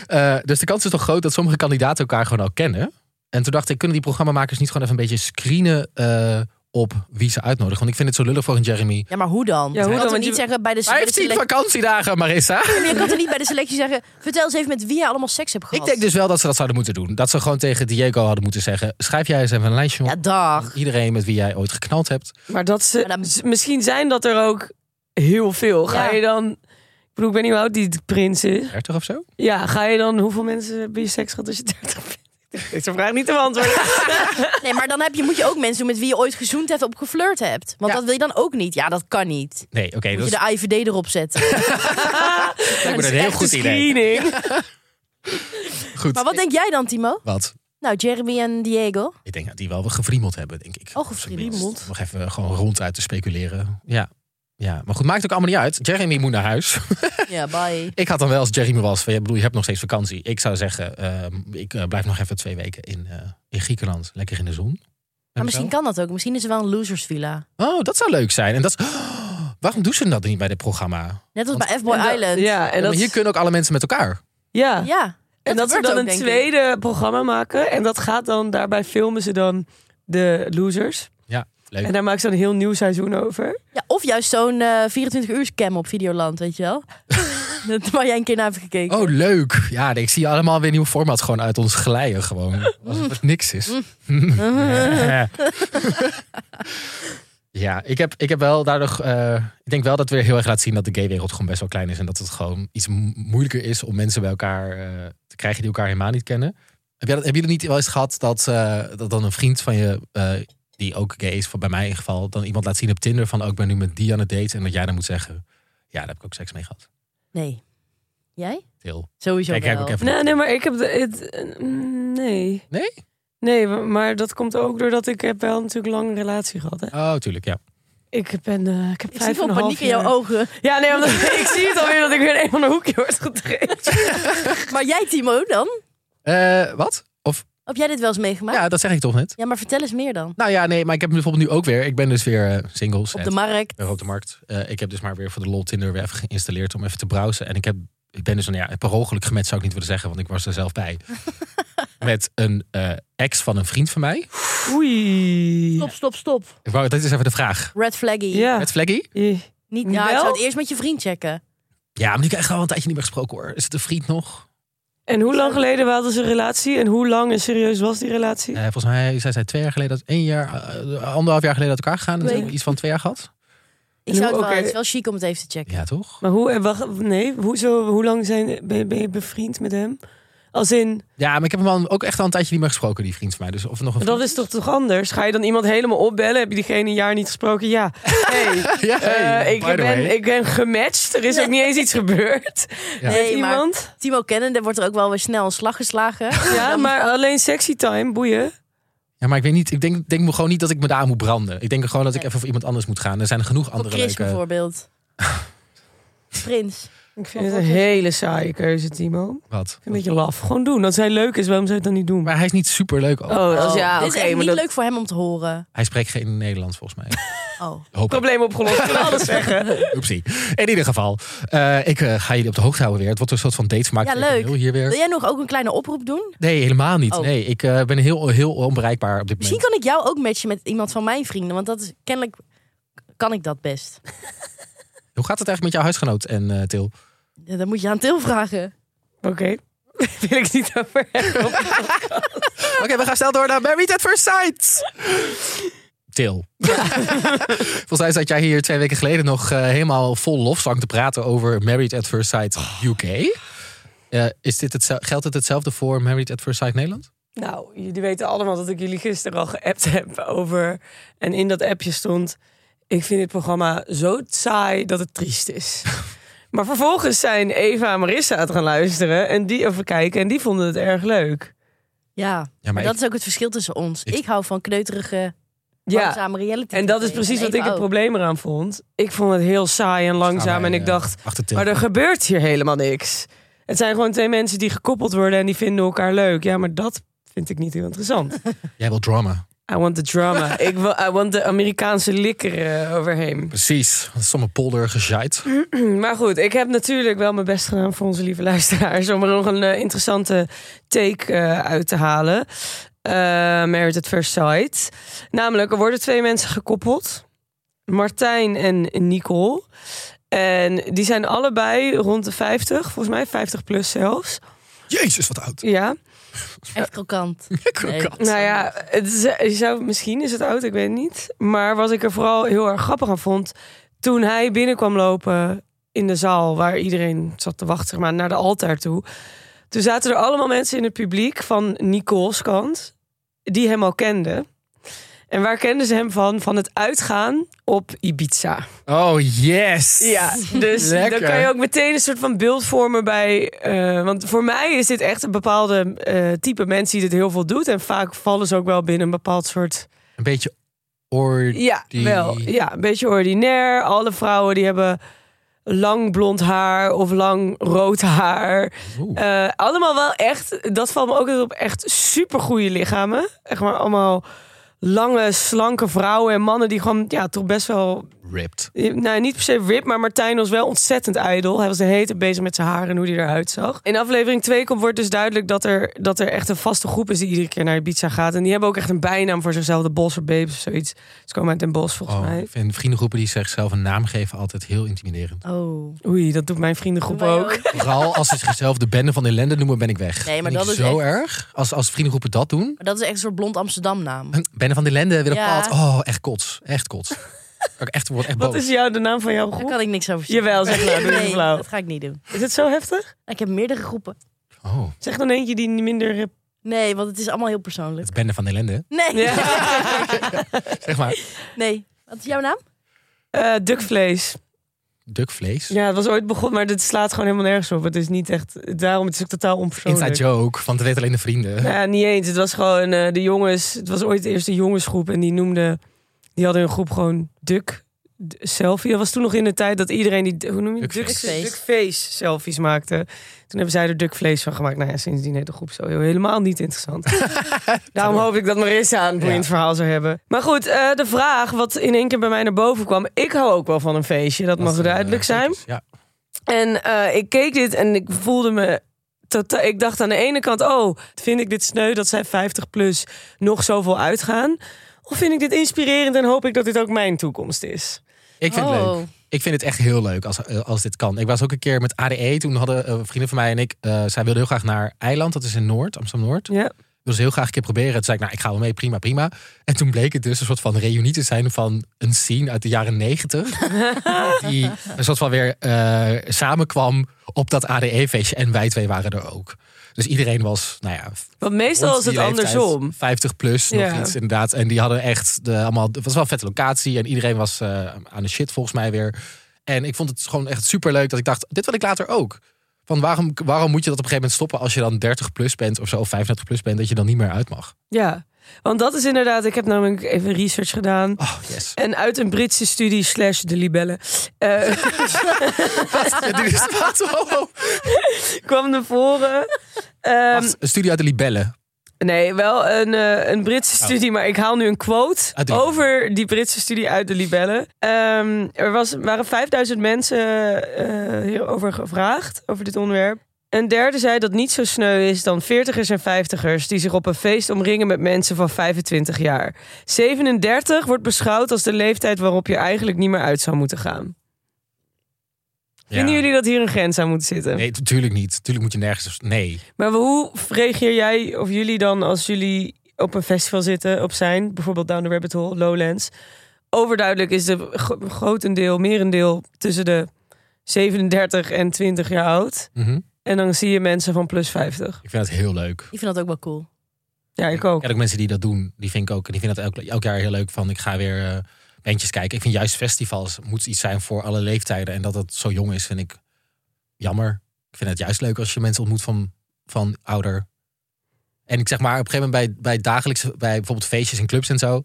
Speaker 3: Eh, dus de kans is toch groot dat sommige kandidaten elkaar gewoon al kennen. En toen dacht ik, kunnen die programmamakers niet gewoon even een beetje screenen eh, op wie ze uitnodigen? Want ik vind het zo lullig voor een Jeremy.
Speaker 1: Ja, maar hoe dan?
Speaker 2: Ja, hoe
Speaker 1: je kan
Speaker 2: dan?
Speaker 1: toch
Speaker 2: Want
Speaker 1: niet
Speaker 2: je-
Speaker 1: zeggen bij de bij de
Speaker 3: 15
Speaker 1: selectie.
Speaker 3: vakantiedagen, Marissa.
Speaker 1: Je kan toch niet bij de selectie zeggen. Vertel eens even met wie je allemaal seks hebt gehad.
Speaker 3: Ik denk dus wel dat ze dat zouden moeten doen. Dat ze gewoon tegen Diego hadden moeten zeggen: schrijf jij eens even een lijstje op.
Speaker 1: Ja, dag.
Speaker 3: van Iedereen met wie jij ooit geknald hebt.
Speaker 2: Maar dat ze,
Speaker 1: Maar dan-
Speaker 2: z- misschien zijn dat er ook heel veel. Ga
Speaker 1: Ja.
Speaker 2: je dan. Ik bedoel, ik weet niet hoe oud die prins is.
Speaker 3: 30 of zo?
Speaker 2: Ja, ga je dan. Hoeveel mensen hebben je seks gehad als je 30 bent? Deze vraag niet te beantwoorden.
Speaker 1: Nee, maar dan heb je, moet je ook mensen doen met wie je ooit gezoend hebt of geflirt hebt. Want
Speaker 3: Ja.
Speaker 1: dat wil je dan ook niet. Ja, dat kan niet.
Speaker 3: Nee, oké. dat
Speaker 1: Moet
Speaker 3: is
Speaker 1: je de IVD erop zetten.
Speaker 3: lijkt me
Speaker 2: Dat
Speaker 3: een
Speaker 2: is
Speaker 3: heel
Speaker 2: echt
Speaker 3: goed
Speaker 2: een
Speaker 3: idee.
Speaker 2: screening.
Speaker 3: Goed.
Speaker 1: Maar wat denk jij dan, Timo?
Speaker 3: Wat?
Speaker 1: Nou, Jeremy en Diego.
Speaker 3: Ik denk dat die wel gevriemeld hebben, denk ik.
Speaker 1: Oh, gevriemeld.
Speaker 3: Tenminste, Nog even gewoon ronduit te speculeren. Ja. Ja, maar goed, maakt ook allemaal niet uit. Jeremy moet naar huis.
Speaker 1: Ja, bye.
Speaker 3: Ik had dan wel, als Jeremy was, van, ja, bedoel, je hebt nog steeds vakantie. Ik zou zeggen, ehm, ik eh, blijf nog even twee weken in, eh, in Griekenland. Lekker in de zon. En
Speaker 1: Maar misschien
Speaker 3: zo.
Speaker 1: kan dat ook. Misschien is er wel een losers villa.
Speaker 3: Oh, dat zou leuk zijn. En dat is... Waarom doen ze dat niet bij dit programma?
Speaker 1: Net als bij F-Boy
Speaker 2: En dat-
Speaker 1: Island.
Speaker 2: Ja, en dat,
Speaker 3: Ja, maar hier kunnen ook alle mensen met elkaar.
Speaker 2: ja.
Speaker 1: Ja,
Speaker 2: en dat ze
Speaker 1: gebeurt
Speaker 2: dan
Speaker 1: ook,
Speaker 2: een
Speaker 1: denk ik.
Speaker 2: tweede programma maken. En dat gaat dan, daarbij filmen ze dan de losers.
Speaker 3: Ja, leuk.
Speaker 2: En daar maken ze dan een heel nieuw seizoen over.
Speaker 1: Ja, of juist zo'n eh, 24-uur-cam op Videoland, weet je wel. dat waar jij een keer naar hebt gekeken.
Speaker 3: Oh, leuk. Ja, nee, ik zie allemaal weer nieuwe formats gewoon uit ons glijden. Gewoon. Alsof het niks is. ja, ik heb, ik heb wel daardoor... eh, ik denk wel dat het weer heel erg laat zien dat de gaywereld gewoon best wel klein is. En dat het gewoon iets mo- moeilijker is om mensen bij elkaar eh, te krijgen die elkaar helemaal niet kennen. Heb jij dat, hebben jullie niet wel eens gehad dat, eh, dat dan een vriend van je... eh, die ook gay is, van bij mij in ieder geval, dan iemand laat zien op Tinder van ook ik ben nu met die aan het daten en dat jij dan moet zeggen, ja, daar heb ik ook seks mee gehad.
Speaker 1: Nee. Jij?
Speaker 3: Til.
Speaker 1: Sowieso
Speaker 3: Kijk, kijk
Speaker 1: wel.
Speaker 3: ook even.
Speaker 2: Nou, Nee, nee, maar ik heb... De, het, eh, mm, nee.
Speaker 3: Nee?
Speaker 2: Nee, maar dat komt ook doordat ik heb wel natuurlijk lang een relatie gehad. Hè.
Speaker 3: Oh, tuurlijk, ja.
Speaker 2: Ik ben... eh, ik heb
Speaker 1: Ik zie
Speaker 2: vijf en
Speaker 1: veel
Speaker 2: een half
Speaker 1: paniek in jouw
Speaker 2: jaar-
Speaker 1: ogen.
Speaker 2: Ja, nee, omdat, ik zie het alweer dat ik weer een van de hoekje word gedreven.
Speaker 1: Maar jij, Timo, dan?
Speaker 3: Eh, wat? Of,
Speaker 1: Heb jij dit wel eens meegemaakt? Ja,
Speaker 3: ja, dat zeg ik toch net.
Speaker 1: maar vertel eens meer dan.
Speaker 3: Nou ja, nee, maar ik heb bijvoorbeeld nu ook weer. Ik ben dus weer eh, singles.
Speaker 1: Op
Speaker 3: en
Speaker 1: de markt.
Speaker 3: weer op de markt. Eh, ik heb dus maar weer voor de lol Tinder weer even geïnstalleerd om even te browsen. En ik, heb, ik ben dus een, ja, per ongeluk gemet zou ik niet willen zeggen, want ik was er zelf bij. Met een eh, ex van een vriend van mij.
Speaker 2: Oei.
Speaker 1: Stop, stop, stop.
Speaker 3: Ik wou, dit is even de vraag.
Speaker 1: Red flaggy.
Speaker 2: Ja.
Speaker 3: Met Flaggy?
Speaker 2: Eh,
Speaker 1: Niet, nou, ik zou
Speaker 2: Wel?
Speaker 1: het eerst met je vriend checken.
Speaker 3: Ja, maar die krijg ik al een tijdje niet meer gesproken hoor. Is het een vriend nog?
Speaker 2: En hoe lang geleden we hadden ze een relatie? En hoe lang en serieus was die relatie?
Speaker 3: Eh, volgens mij zij zei twee jaar geleden, dat één jaar, eh, anderhalf jaar geleden uit elkaar gegaan. En
Speaker 1: Twee.
Speaker 3: toen iets van twee jaar gehad.
Speaker 1: Ik
Speaker 2: En
Speaker 1: zou
Speaker 2: hoe-
Speaker 1: het wel,
Speaker 2: oké.
Speaker 1: het is wel chic om het even te checken.
Speaker 3: Ja, toch?
Speaker 2: Maar hoe, en wacht, nee, hoezo, hoe lang zijn, ben, je- ben je bevriend met hem? Als in,
Speaker 3: Ja, maar ik heb hem al, ook echt al een tijdje niet meer gesproken, die vriend van mij. Dus of het nog een
Speaker 2: dat is toch toch anders? Ga je dan iemand helemaal opbellen? Heb je diegene een jaar niet gesproken? Ja, hey,
Speaker 3: Ja, hey,
Speaker 2: eh, ik,
Speaker 3: by the way.
Speaker 2: ben, ik ben gematcht. Er is ook niet eens iets gebeurd
Speaker 3: Ja.
Speaker 2: met
Speaker 1: Nee, maar-
Speaker 2: iemand.
Speaker 1: Timo kennen, daar wordt er ook wel weer snel een slag geslagen.
Speaker 2: Ja, maar alleen sexy time, boeien.
Speaker 3: Ja, maar ik weet niet. Ik denk, denk me gewoon niet dat ik me daar aan moet branden. Ik denk gewoon dat ik even voor iemand anders moet gaan. Er zijn genoeg
Speaker 1: Voor
Speaker 3: andere
Speaker 1: Chris
Speaker 3: leuke.
Speaker 1: bijvoorbeeld. Prins.
Speaker 2: Ik vind het een hele saaie keuze, Timo. Ik
Speaker 3: Wat?
Speaker 2: vind het een beetje laf. Gewoon doen. Als hij leuk is, waarom zou je het dan niet doen?
Speaker 3: Maar hij is niet super leuk.
Speaker 2: oh, als, ja,
Speaker 1: dit
Speaker 2: oké.
Speaker 1: is echt
Speaker 2: maar
Speaker 1: niet
Speaker 2: dat
Speaker 1: leuk voor hem om te horen.
Speaker 3: Hij spreekt geen Nederlands volgens mij.
Speaker 1: Oh.
Speaker 3: Hoop ik.
Speaker 2: probleem opgelost. Ik wil alles zeggen.
Speaker 3: Oepsie. In ieder geval, eh, ik eh, ga jullie op de hoogte houden weer. Het wordt een soort van
Speaker 1: Ja,
Speaker 3: date gemaakt.
Speaker 1: leuk.
Speaker 3: Hier
Speaker 1: Wil
Speaker 3: weer.
Speaker 1: jij nog ook een kleine oproep doen?
Speaker 3: Nee, helemaal niet.
Speaker 1: Oh.
Speaker 3: Nee, ik eh, ben heel, heel onbereikbaar op dit
Speaker 1: Misschien
Speaker 3: moment.
Speaker 1: kan ik jou ook matchen met iemand van mijn vrienden. Want dat is kennelijk kan ik dat best.
Speaker 3: Hoe gaat het eigenlijk met jouw huisgenoot en eh, Til?
Speaker 1: Ja, dan moet je aan Til vragen.
Speaker 2: Oké. Wil ik het niet over hebben.
Speaker 3: Oké, we gaan snel door naar Married at First Sight. Til. Volgens mij zat jij hier twee weken geleden nog eh, helemaal vol lofzang te praten over Married at First Sight UK. Eh, is dit hetzel- geldt het hetzelfde voor Married at First Sight Nederland?
Speaker 2: Nou, jullie weten allemaal dat ik jullie gisteren al geappt heb over... En in dat appje stond... Ik vind dit programma zo saai dat het triest is. Maar vervolgens zijn Eva en Marissa het gaan luisteren en die even kijken en die vonden het erg leuk.
Speaker 1: Ja,
Speaker 3: Ja,
Speaker 1: maar
Speaker 3: maar
Speaker 1: dat is ook het verschil tussen ons. Ik,
Speaker 3: ik-
Speaker 1: hou van kneuterige,
Speaker 2: Ja,
Speaker 1: langzame reality.
Speaker 2: en dat is
Speaker 1: tv.
Speaker 2: precies
Speaker 1: En
Speaker 2: wat
Speaker 1: Eva
Speaker 2: ik het
Speaker 1: ook.
Speaker 2: probleem eraan vond. Ik vond het heel saai en langzaam en ik dacht...
Speaker 3: eh, Achter Til.
Speaker 2: Maar er gebeurt hier helemaal niks. Het zijn gewoon twee mensen die gekoppeld worden en die vinden elkaar leuk. Ja, maar dat vind ik niet heel interessant.
Speaker 3: Jij wil drama.
Speaker 2: I want the drama. Ik wil, I want de Amerikaanse likker eh, overheen.
Speaker 3: Precies. Sommige polder gezaaid.
Speaker 2: Maar goed, ik heb natuurlijk wel mijn best gedaan voor onze lieve luisteraars. Om er nog een eh, interessante take eh, uit te halen. Eh Married at First Sight. Namelijk, er worden twee mensen gekoppeld. Martijn en Nicole. En die zijn allebei rond de 50, volgens mij 50 plus zelfs.
Speaker 3: Jezus, wat oud.
Speaker 2: Ja.
Speaker 1: Echt krokant. Nee.
Speaker 3: Krokant.
Speaker 2: Nou ja, het is, je zou, misschien is het oud, ik weet het niet. Maar wat ik er vooral heel erg grappig aan vond... toen hij binnenkwam lopen in de zaal... waar iedereen zat te wachten, zeg maar, naar de altaar toe... toen zaten er allemaal mensen in het publiek van Nicole's kant... die hem al kenden. En waar kenden ze hem van? Van het uitgaan op Ibiza.
Speaker 3: Oh, yes.
Speaker 2: Ja, dus
Speaker 3: Lekker.
Speaker 2: dan kan je ook meteen een soort van beeld vormen bij. eh, want voor mij is dit echt een bepaalde eh, type mensen die dit heel veel doet. En vaak vallen ze ook wel binnen een bepaald soort.
Speaker 3: Een beetje oor...
Speaker 2: Ja,
Speaker 3: Die-
Speaker 2: wel. Ja, een beetje ordinair. Alle vrouwen die hebben lang blond haar of lang rood haar.
Speaker 3: Oeh.
Speaker 2: Eh, allemaal wel echt, dat valt me ook altijd op, echt supergoeie lichamen. Echt maar allemaal lange, slanke vrouwen en mannen die gewoon ja, toch best wel
Speaker 3: Ripped.
Speaker 2: nou, niet per se rip, maar Martijn was wel ontzettend ijdel. Hij was de hele tijd bezig met zijn haar en hoe hij eruit zag. In aflevering 2 komt, wordt dus duidelijk dat er, dat er echt een vaste groep is die iedere keer naar Ibiza gaat. En die hebben ook echt een bijnaam voor zichzelf, de Bosser Babes of zoiets. Ze komen uit Den Bosch volgens
Speaker 3: Oh,
Speaker 2: mij.
Speaker 3: ik vind vriendengroepen die zichzelf een naam geven altijd heel intimiderend.
Speaker 1: Oh.
Speaker 2: Oei, dat doet mijn vriendengroep
Speaker 1: Wij
Speaker 2: ook.
Speaker 3: Vooral als ze zichzelf de bende van ellende noemen, ben ik weg.
Speaker 1: Nee, maar
Speaker 3: Vind ik
Speaker 1: dat is
Speaker 3: zo
Speaker 1: echt-
Speaker 3: erg. Als, als vriendengroepen dat doen.
Speaker 1: Maar dat is echt een soort blond Amsterdam naam.
Speaker 3: Bende van de ellende, weer op
Speaker 1: Ja.
Speaker 3: pad. Oh, echt kots. Echt kots. Ik echt, word echt boos.
Speaker 2: Wat is jou, de naam van jouw
Speaker 1: Daar
Speaker 2: groep?
Speaker 1: kan ik niks over zeggen.
Speaker 2: Jawel, zeg nou, doe je
Speaker 1: nee,
Speaker 2: flauw.
Speaker 1: dat ga ik niet doen.
Speaker 2: Is het zo heftig?
Speaker 1: Ik heb meerdere groepen.
Speaker 3: Oh,
Speaker 2: Zeg dan eentje die minder... eh,
Speaker 1: Nee, want het is allemaal heel persoonlijk.
Speaker 3: het bende van de ellende.
Speaker 1: Nee.
Speaker 3: Zeg maar,
Speaker 1: Nee. Wat is jouw naam?
Speaker 2: eh, dukvlees.
Speaker 3: dukvlees.
Speaker 2: Ja, het was ooit begonnen, maar dit slaat gewoon helemaal nergens op. Het is niet echt... Daarom, het is ook totaal onpersoonlijk.
Speaker 3: Inside joke, want het weten alleen de vrienden.
Speaker 2: Nou ja, niet eens. Het was gewoon eh, de jongens. Het was ooit de eerste jongensgroep en die noemde. Die hadden hun groep gewoon Duk D- Selfie. Dat was toen nog in de tijd dat iedereen die. Hoe noem je het?
Speaker 3: Duckface.
Speaker 2: Duck- Duckface selfies maakte. Toen hebben zij er Duckvlees van gemaakt. Nou ja, sindsdien heet de groep zo heel- helemaal niet interessant. Daarom hoop ik dat Marissa een boeiend
Speaker 3: Ja.
Speaker 2: verhaal zou hebben. Maar goed, eh, de vraag wat in één keer bij mij naar boven kwam. Ik hou ook wel van een feestje. Dat, mag
Speaker 3: eh,
Speaker 2: duidelijk zijn.
Speaker 3: Ja.
Speaker 2: En eh, ik keek dit en ik voelde me. Totaal, ik dacht aan de ene kant, oh, vind ik dit sneu dat zij 50 plus nog zoveel uitgaan? Of vind ik dit inspirerend en hoop ik dat dit ook mijn toekomst is?
Speaker 3: Ik vind
Speaker 1: Oh.
Speaker 3: het leuk. Ik vind het echt heel leuk als, eh, als dit kan. Ik was ook een keer met ADE. Toen hadden eh, vrienden van mij en ik... eh, zij wilden heel graag naar Eiland. Dat is in Noord, Amsterdam-Noord.
Speaker 2: Ja.
Speaker 3: Wilden ze heel graag een keer proberen. Toen zei ik, nou, ik ga wel mee. Prima, prima. En toen bleek het dus een soort van reunie te zijn... van een scene uit de jaren negentig. die een soort van weer eh, samenkwam op dat ADE-feestje. En wij twee waren er ook. Dus iedereen was, nou ja...
Speaker 2: Want meestal
Speaker 3: ons
Speaker 2: is het
Speaker 3: die leeftijd,
Speaker 2: andersom.
Speaker 3: 50 plus, nog
Speaker 2: Ja.
Speaker 3: iets inderdaad. En die hadden echt de, allemaal... Het was wel een vette locatie. En iedereen was eh, aan de shit volgens mij weer. En ik vond het gewoon echt superleuk dat ik dacht... Dit wil ik later ook. Van waarom, waarom moet je dat op een gegeven moment stoppen... als je dan 30 plus bent of zo, of 35 plus bent... dat je dan niet meer uit mag.
Speaker 2: Ja, want dat is inderdaad, ik heb namelijk even research gedaan.
Speaker 3: Oh, yes.
Speaker 2: En uit een Britse studie slash de libellen eh,
Speaker 3: Ja, dit is wat, oh, oh.
Speaker 2: kwam naar voren... ehm,
Speaker 3: Wacht, een studie uit de libellen.
Speaker 2: Nee, wel een, eh, een Britse studie, maar ik haal nu een quote
Speaker 3: Uit de-
Speaker 2: over die Britse studie uit de libellen. Ehm, er was, waren 5000 mensen eh, hierover gevraagd, over dit onderwerp. Een derde zei dat niet zo sneu is dan 40ers en 50ers die zich op een feest omringen met mensen van 25 jaar. 37 wordt beschouwd als de leeftijd waarop je eigenlijk niet meer uit zou moeten gaan. Vinden jullie dat hier een grens aan moet zitten?
Speaker 3: Nee, natuurlijk niet. Natuurlijk moet je nergens... Nee.
Speaker 2: Maar hoe reageer jij of jullie dan als jullie op een festival zitten, op zijn, bijvoorbeeld Down the Rabbit Hole, Lowlands? Overduidelijk is de gro- grotendeel, merendeel tussen de 37 en 20 jaar oud.
Speaker 3: Mhm.
Speaker 2: En dan zie je mensen van plus 50.
Speaker 3: Ik vind het heel leuk.
Speaker 1: Ik vind dat ook wel cool.
Speaker 2: Ja, ik ook.
Speaker 3: Ja, ook mensen die dat doen, die vind ik ook. Die vinden dat elk, elk jaar heel leuk. Van ik ga weer eh bandjes kijken. Ik vind juist festivals moet iets zijn voor alle leeftijden. En dat dat zo jong is, vind ik jammer. Ik vind het juist leuk als je mensen ontmoet van, van ouder. En ik zeg maar op een gegeven moment bij, bij dagelijkse, bij bijvoorbeeld feestjes in clubs en zo.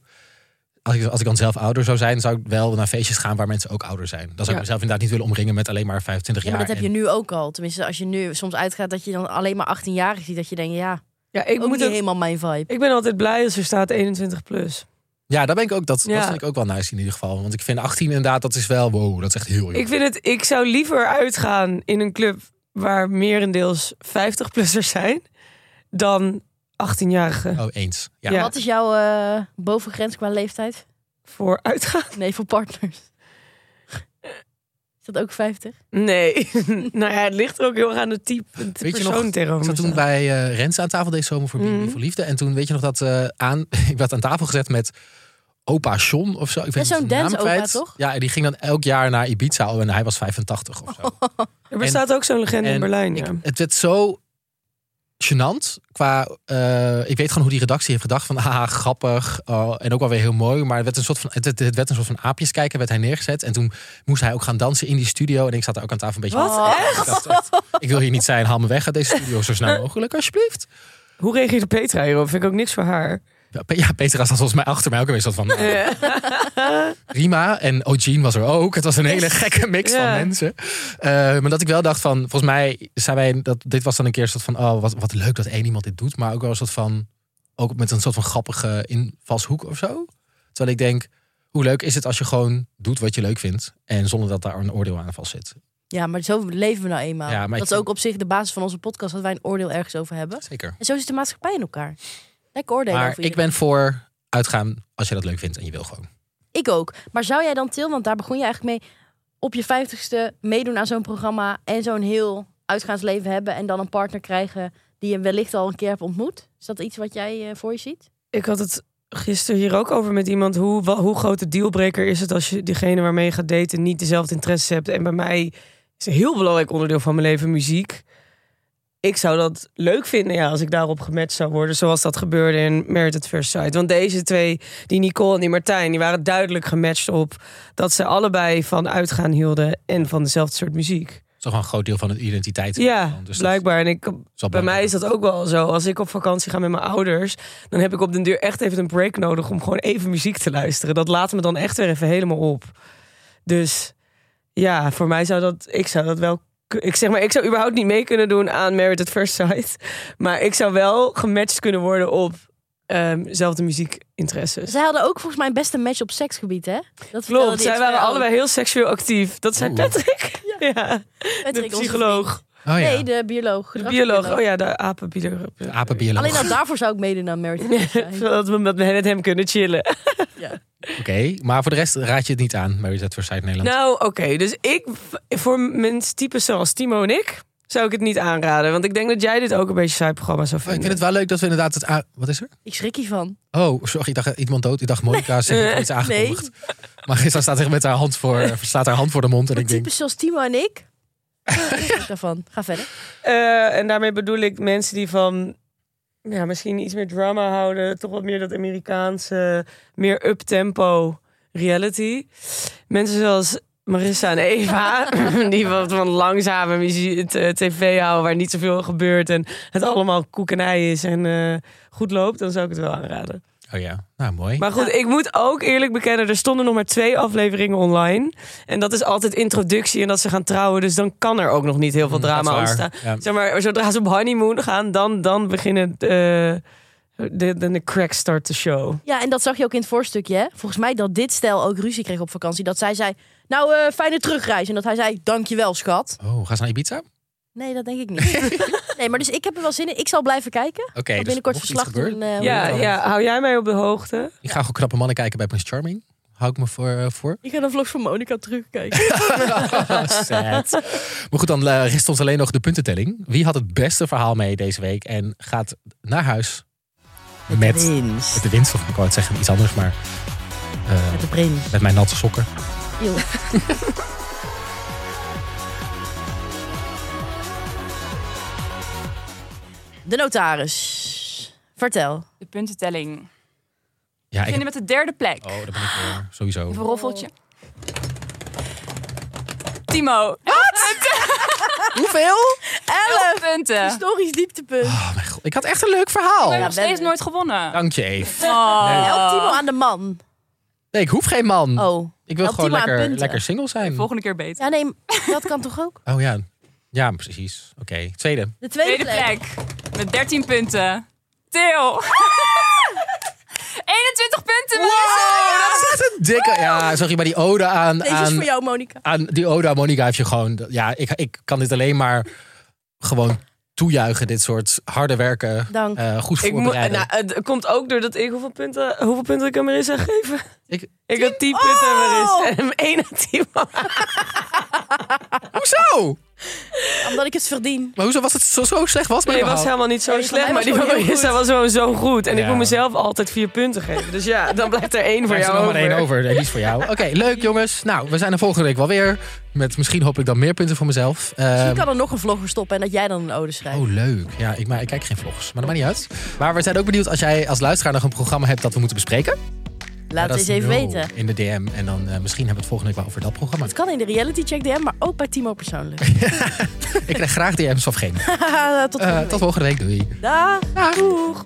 Speaker 3: Als ik, als ik dan zelf ouder zou zijn, zou ik wel naar feestjes gaan waar mensen ook ouder zijn. Dan zou
Speaker 2: Ja.
Speaker 3: ik mezelf inderdaad niet willen omringen met alleen maar 25
Speaker 1: Ja, maar
Speaker 3: jaar.
Speaker 1: dat heb je nu ook al. Tenminste, als je nu soms uitgaat dat je dan alleen maar 18-jarigen ziet. Dat je denkt, ja,
Speaker 2: Ja, ik,
Speaker 1: ook
Speaker 2: moet
Speaker 1: niet
Speaker 2: het,
Speaker 1: helemaal mijn vibe.
Speaker 2: ik ben altijd blij als er staat 21 plus.
Speaker 3: Ja, daar ben ik ook. Dat,
Speaker 2: Ja.
Speaker 3: dat vind ik ook wel nice in ieder geval. Want ik vind 18 inderdaad, dat is wel wow, dat is echt heel jong.
Speaker 2: Ik, vind het, ik zou liever uitgaan in een club waar merendeels 50-plussers zijn dan 18-jarigen
Speaker 3: Oh, eens. Ja.
Speaker 2: Ja.
Speaker 1: Wat is jouw eh, bovengrens qua leeftijd?
Speaker 2: voor uitgaan.
Speaker 1: Nee, voor partners. Is dat ook 50?
Speaker 2: Nee, nou ja, het ligt er ook heel erg aan de type de
Speaker 3: Weet je
Speaker 2: persoon
Speaker 3: nog, Ik
Speaker 2: tegenover me
Speaker 3: zat toen
Speaker 2: staat.
Speaker 3: bij eh Rens aan tafel deze zomer voor Bier
Speaker 2: Mhm.
Speaker 3: voor Liefde. En toen weet je nog dat eh, aan, ik werd aan tafel gezet met opa Sean of zo. Ik weet
Speaker 1: Ja, zo'n
Speaker 3: niet zijn naam
Speaker 1: dance-opa,
Speaker 3: kwijt.
Speaker 1: toch?
Speaker 3: Ja, en die ging dan elk jaar naar Ibiza Oh, en hij was 85 of zo.
Speaker 2: Er bestaat ook zo'n legende in
Speaker 3: en
Speaker 2: Berlijn,
Speaker 3: Ik-
Speaker 2: ja.
Speaker 3: het werd zo gênant qua... eh, ik weet gewoon hoe die redactie heeft gedacht van haha, grappig oh, en ook wel weer heel mooi. Maar het werd een soort van, het, het- het werd een soort van aapjes kijken, werd hij neergezet. En toen moest hij ook gaan dansen in die studio. En ik zat daar ook aan tafel een beetje...
Speaker 2: Wat? Echt?
Speaker 3: Ik dacht echt, Ik wil hier niet zijn, haal me weg uit deze studio zo snel mogelijk, alsjeblieft.
Speaker 2: Hoe reageerde Petra hierop? Vind ik ook niks voor haar.
Speaker 3: Ja, Pe- Ja, Petra zat volgens mij achter mij ook alweer zat van. nou, Rima en Eugene was er ook. Het was een hele gekke mix
Speaker 2: Ja.
Speaker 3: van mensen. Eh, maar dat ik wel dacht van, volgens mij zijn wij dat dit was dan een keer een soort van, oh wat, wat leuk dat één iemand dit doet, maar ook wel een soort van ook met een soort van grappige invalshoek of zo. Terwijl ik denk, hoe leuk is het als je gewoon doet wat je leuk vindt. En zonder dat daar een oordeel aan vast zit.
Speaker 1: Ja, maar zo leven we nou eenmaal.
Speaker 3: Ja, maar ik
Speaker 1: dat is
Speaker 3: vind-
Speaker 1: ook op zich de basis van onze podcast, dat wij een oordeel ergens over hebben.
Speaker 3: Zeker.
Speaker 1: En zo zit de maatschappij in elkaar. Lekker oordelen
Speaker 3: Maar
Speaker 1: over
Speaker 3: ik
Speaker 1: iedereen.
Speaker 3: ben voor uitgaan als je dat leuk vindt en je wil gewoon.
Speaker 1: Ik ook. Maar zou jij dan, Til, want daar begon je eigenlijk mee... op je vijftigste meedoen aan zo'n programma... en zo'n heel uitgaansleven hebben... en dan een partner krijgen die je wellicht al een keer hebt ontmoet? Is dat iets wat jij eh, voor je ziet?
Speaker 2: Ik had het gisteren hier ook over met iemand. Hoe, wa- hoe groot de dealbreaker is het als je diegene waarmee je gaat daten niet dezelfde interesse hebt? En bij mij is een heel belangrijk onderdeel van mijn leven muziek. Ik zou dat leuk vinden ja, als ik daarop gematcht zou worden. Zoals dat gebeurde in Merit at First Sight. Want deze twee, die Nicole en die Martijn, die waren duidelijk gematcht op dat ze allebei van uitgaan hielden en van dezelfde soort muziek.
Speaker 3: Dat is toch wel een groot deel van het identiteit.
Speaker 2: Ja,
Speaker 3: dan, dus dat
Speaker 2: blijkbaar. En ik,
Speaker 3: is wel
Speaker 2: bij mij
Speaker 3: belangrijk.
Speaker 2: is dat ook wel zo. Als ik op vakantie ga met mijn ouders, dan heb ik op den duur echt even een break nodig om gewoon even muziek te luisteren. Dat laat me dan echt weer even helemaal op. Dus ja, voor mij zou dat, ik zou dat wel. ku- Ik zeg maar, ik zou überhaupt niet mee kunnen doen aan Married at First Sight. Maar ik zou wel gematcht kunnen worden op ehm zelfde muziekinteresses.
Speaker 1: Zij hadden ook volgens mij een beste match op seksgebied, hè? Dat vertelde
Speaker 2: Klopt,
Speaker 1: die
Speaker 2: zij
Speaker 1: expert
Speaker 2: waren
Speaker 1: ook.
Speaker 2: allebei heel seksueel actief. Dat zei
Speaker 3: Oeh.
Speaker 2: Patrick. Ja,
Speaker 1: Patrick,
Speaker 2: de
Speaker 1: onze
Speaker 2: psycholoog.
Speaker 3: Oh
Speaker 1: vriend.
Speaker 3: ja,
Speaker 1: Nee, de bioloog.
Speaker 2: De
Speaker 1: gedragsbioloog.
Speaker 2: bioloog. Oh ja, de apenbioloog.
Speaker 3: de apenbioloog.
Speaker 1: Alleen nou, al daarvoor zou ik meedoen aan Merit.
Speaker 2: Zodat we met met hem kunnen chillen.
Speaker 3: Oké, maar voor de rest raad je het niet aan. Married at First Sight Nederland.
Speaker 2: Nou, oké. dus ik, voor mensen types zoals Timo en ik, zou ik het niet aanraden. Want ik denk dat jij dit ook een beetje saai programma zou
Speaker 3: Oh, ik
Speaker 2: vinden.
Speaker 3: vind het wel leuk dat we inderdaad het aan... Wat is er?
Speaker 1: Ik schrik hiervan.
Speaker 3: Oh, sorry, ik dacht iemand dood. Ik dacht Monica zegt iets aangekondigd. Maar gisteren staat echt met haar hand voor, eh, staat haar hand voor de mond. En
Speaker 1: Maar
Speaker 3: ik denk,
Speaker 1: types zoals Timo en ik. Ik schrik daarvan. Ga verder.
Speaker 2: Eh, en daarmee bedoel ik mensen die van... Ja, misschien iets meer drama houden. Toch wat meer dat Amerikaanse, meer up-tempo reality. Mensen zoals Marissa en Eva, die wat van langzame muzie- t- eh, tv houden... waar niet zoveel gebeurt en het allemaal koek en ei is en eh, goed loopt... dan zou ik het wel aanraden.
Speaker 3: oh ja, nou mooi.
Speaker 2: Maar goed, ik moet ook eerlijk bekennen, er stonden nog maar twee afleveringen online. En dat is altijd introductie en dat ze gaan trouwen. Dus dan kan er ook nog niet heel veel
Speaker 3: Mm, dat is
Speaker 2: drama
Speaker 3: waar,
Speaker 2: ontstaan.
Speaker 3: ja.
Speaker 2: Zeg maar, zodra ze op honeymoon gaan, dan, dan beginnen eh, de, de, de cracks start de show.
Speaker 1: Ja, en dat zag je ook in het voorstukje. Hè? Volgens mij dat dit stel ook ruzie kreeg op vakantie. Dat zij zei, nou eh, fijne terugreis. En dat hij zei, dankjewel schat.
Speaker 3: Oh, gaan ze naar Ibiza? Oké,
Speaker 1: Nee, dat denk ik niet. nee, maar dus ik heb er wel zin in. Ik zal blijven kijken. Ik
Speaker 3: dus
Speaker 1: zal binnenkort
Speaker 3: mocht iets
Speaker 1: verslag
Speaker 3: gebeuren,
Speaker 1: doen. eh, hoe
Speaker 2: Ja,
Speaker 1: het-
Speaker 2: ja, hou jij mij op de hoogte?
Speaker 3: Ik ga gewoon knappe mannen kijken bij Prince Charming. Hou ik me voor. eh, voor.
Speaker 1: Ik ga de vlogs van Monica terugkijken.
Speaker 3: Sad. Maar goed, dan eh, rest ons alleen nog de puntentelling. Wie had het beste verhaal mee deze week en gaat naar huis met de
Speaker 1: Prins.
Speaker 3: winst? Of ik wou het zeggen iets anders, maar eh,
Speaker 1: Met de prins.
Speaker 3: met mijn natte sokken.
Speaker 1: Eeuw. De notaris. Vertel.
Speaker 6: De puntentelling.
Speaker 3: Ja,
Speaker 6: We
Speaker 3: ik.
Speaker 6: beginnen met de derde plek.
Speaker 3: Oh, daar ben ik weer. Sowieso.
Speaker 6: Even een roffeltje. Timo.
Speaker 1: Hoeveel?
Speaker 6: Elf punten.
Speaker 1: Historisch dieptepunt.
Speaker 3: Oh, mijn god. Ik had echt een leuk verhaal.
Speaker 6: Ik heb nog steeds
Speaker 1: Ben-
Speaker 6: nooit gewonnen.
Speaker 3: Dank je, Eve.
Speaker 6: Oh.
Speaker 1: Help Timo aan de man.
Speaker 3: Nee, ik hoef geen man.
Speaker 1: Oh.
Speaker 3: ik wil
Speaker 1: help
Speaker 3: gewoon
Speaker 1: Timo aan
Speaker 3: lekker,
Speaker 1: punten.
Speaker 3: lekker single zijn.
Speaker 6: Volgende keer beter.
Speaker 1: Ja, nee, dat kan toch ook?
Speaker 3: Oh ja. Ja, precies. Oké. Tweede.
Speaker 1: De tweede,
Speaker 6: Tweede
Speaker 1: plek.
Speaker 6: plek. Met 13 punten. Til. 21 punten. Melissa.
Speaker 3: Dat is echt een dikke. Ja, sorry, maar die ode aan.
Speaker 1: Deze is
Speaker 3: aan,
Speaker 1: voor jou, Monica.
Speaker 3: aan die ode aan Monica heeft je gewoon. Ja, ik, ik kan dit alleen maar gewoon toejuichen. Dit soort harde werken.
Speaker 1: Dank.
Speaker 3: eh, goed
Speaker 2: Ik moet,
Speaker 3: voorbereiden.
Speaker 2: nou, het komt ook doordat ik hoeveel punten, hoeveel punten ik aan Marissa geven?
Speaker 3: Ik-
Speaker 2: ik had 10 punten aan Marissa en hem één aan Timo.
Speaker 3: hoezo?
Speaker 1: Omdat ik het verdien.
Speaker 3: Maar hoezo was het zo, zo slecht? Was mijn
Speaker 2: Nee, was
Speaker 3: verhaal?
Speaker 2: helemaal niet zo
Speaker 1: Nee,
Speaker 2: slecht.
Speaker 1: van
Speaker 2: Maar
Speaker 1: mij
Speaker 2: die
Speaker 1: was
Speaker 2: van
Speaker 1: gewoon heel
Speaker 2: Marissa
Speaker 1: goed.
Speaker 2: was gewoon zo goed. En ik
Speaker 3: Ja.
Speaker 2: wil mezelf altijd vier punten geven. Dus ja, dan blijft er één voor
Speaker 3: Er is
Speaker 2: jou
Speaker 3: er nog
Speaker 2: over.
Speaker 3: maar één over. En die is voor jou. Oké, leuk jongens. Nou, we zijn er volgende week wel weer. Met misschien hoop ik dan meer punten voor mezelf.
Speaker 1: Misschien
Speaker 3: Ehm,
Speaker 1: kan er nog een vlogger stoppen en dat jij dan een ode schrijft.
Speaker 3: Oh, leuk. Ja, ik, maar ik kijk geen vlogs. Maar dat maakt niet uit. Maar we zijn ook benieuwd als jij als luisteraar nog een programma hebt dat we moeten bespreken.
Speaker 1: Laat het
Speaker 3: Laat
Speaker 1: eens even weten.
Speaker 3: In de DM. En dan eh, misschien hebben we het volgende week wel over dat programma.
Speaker 1: Het kan in de reality check DM, maar ook bij Timo persoonlijk.
Speaker 3: ik krijg graag DM's of geen.
Speaker 1: Haha, Tot volgende
Speaker 3: Eh,
Speaker 1: week.
Speaker 3: tot volgende week. Doei.
Speaker 1: Dag. Doeg.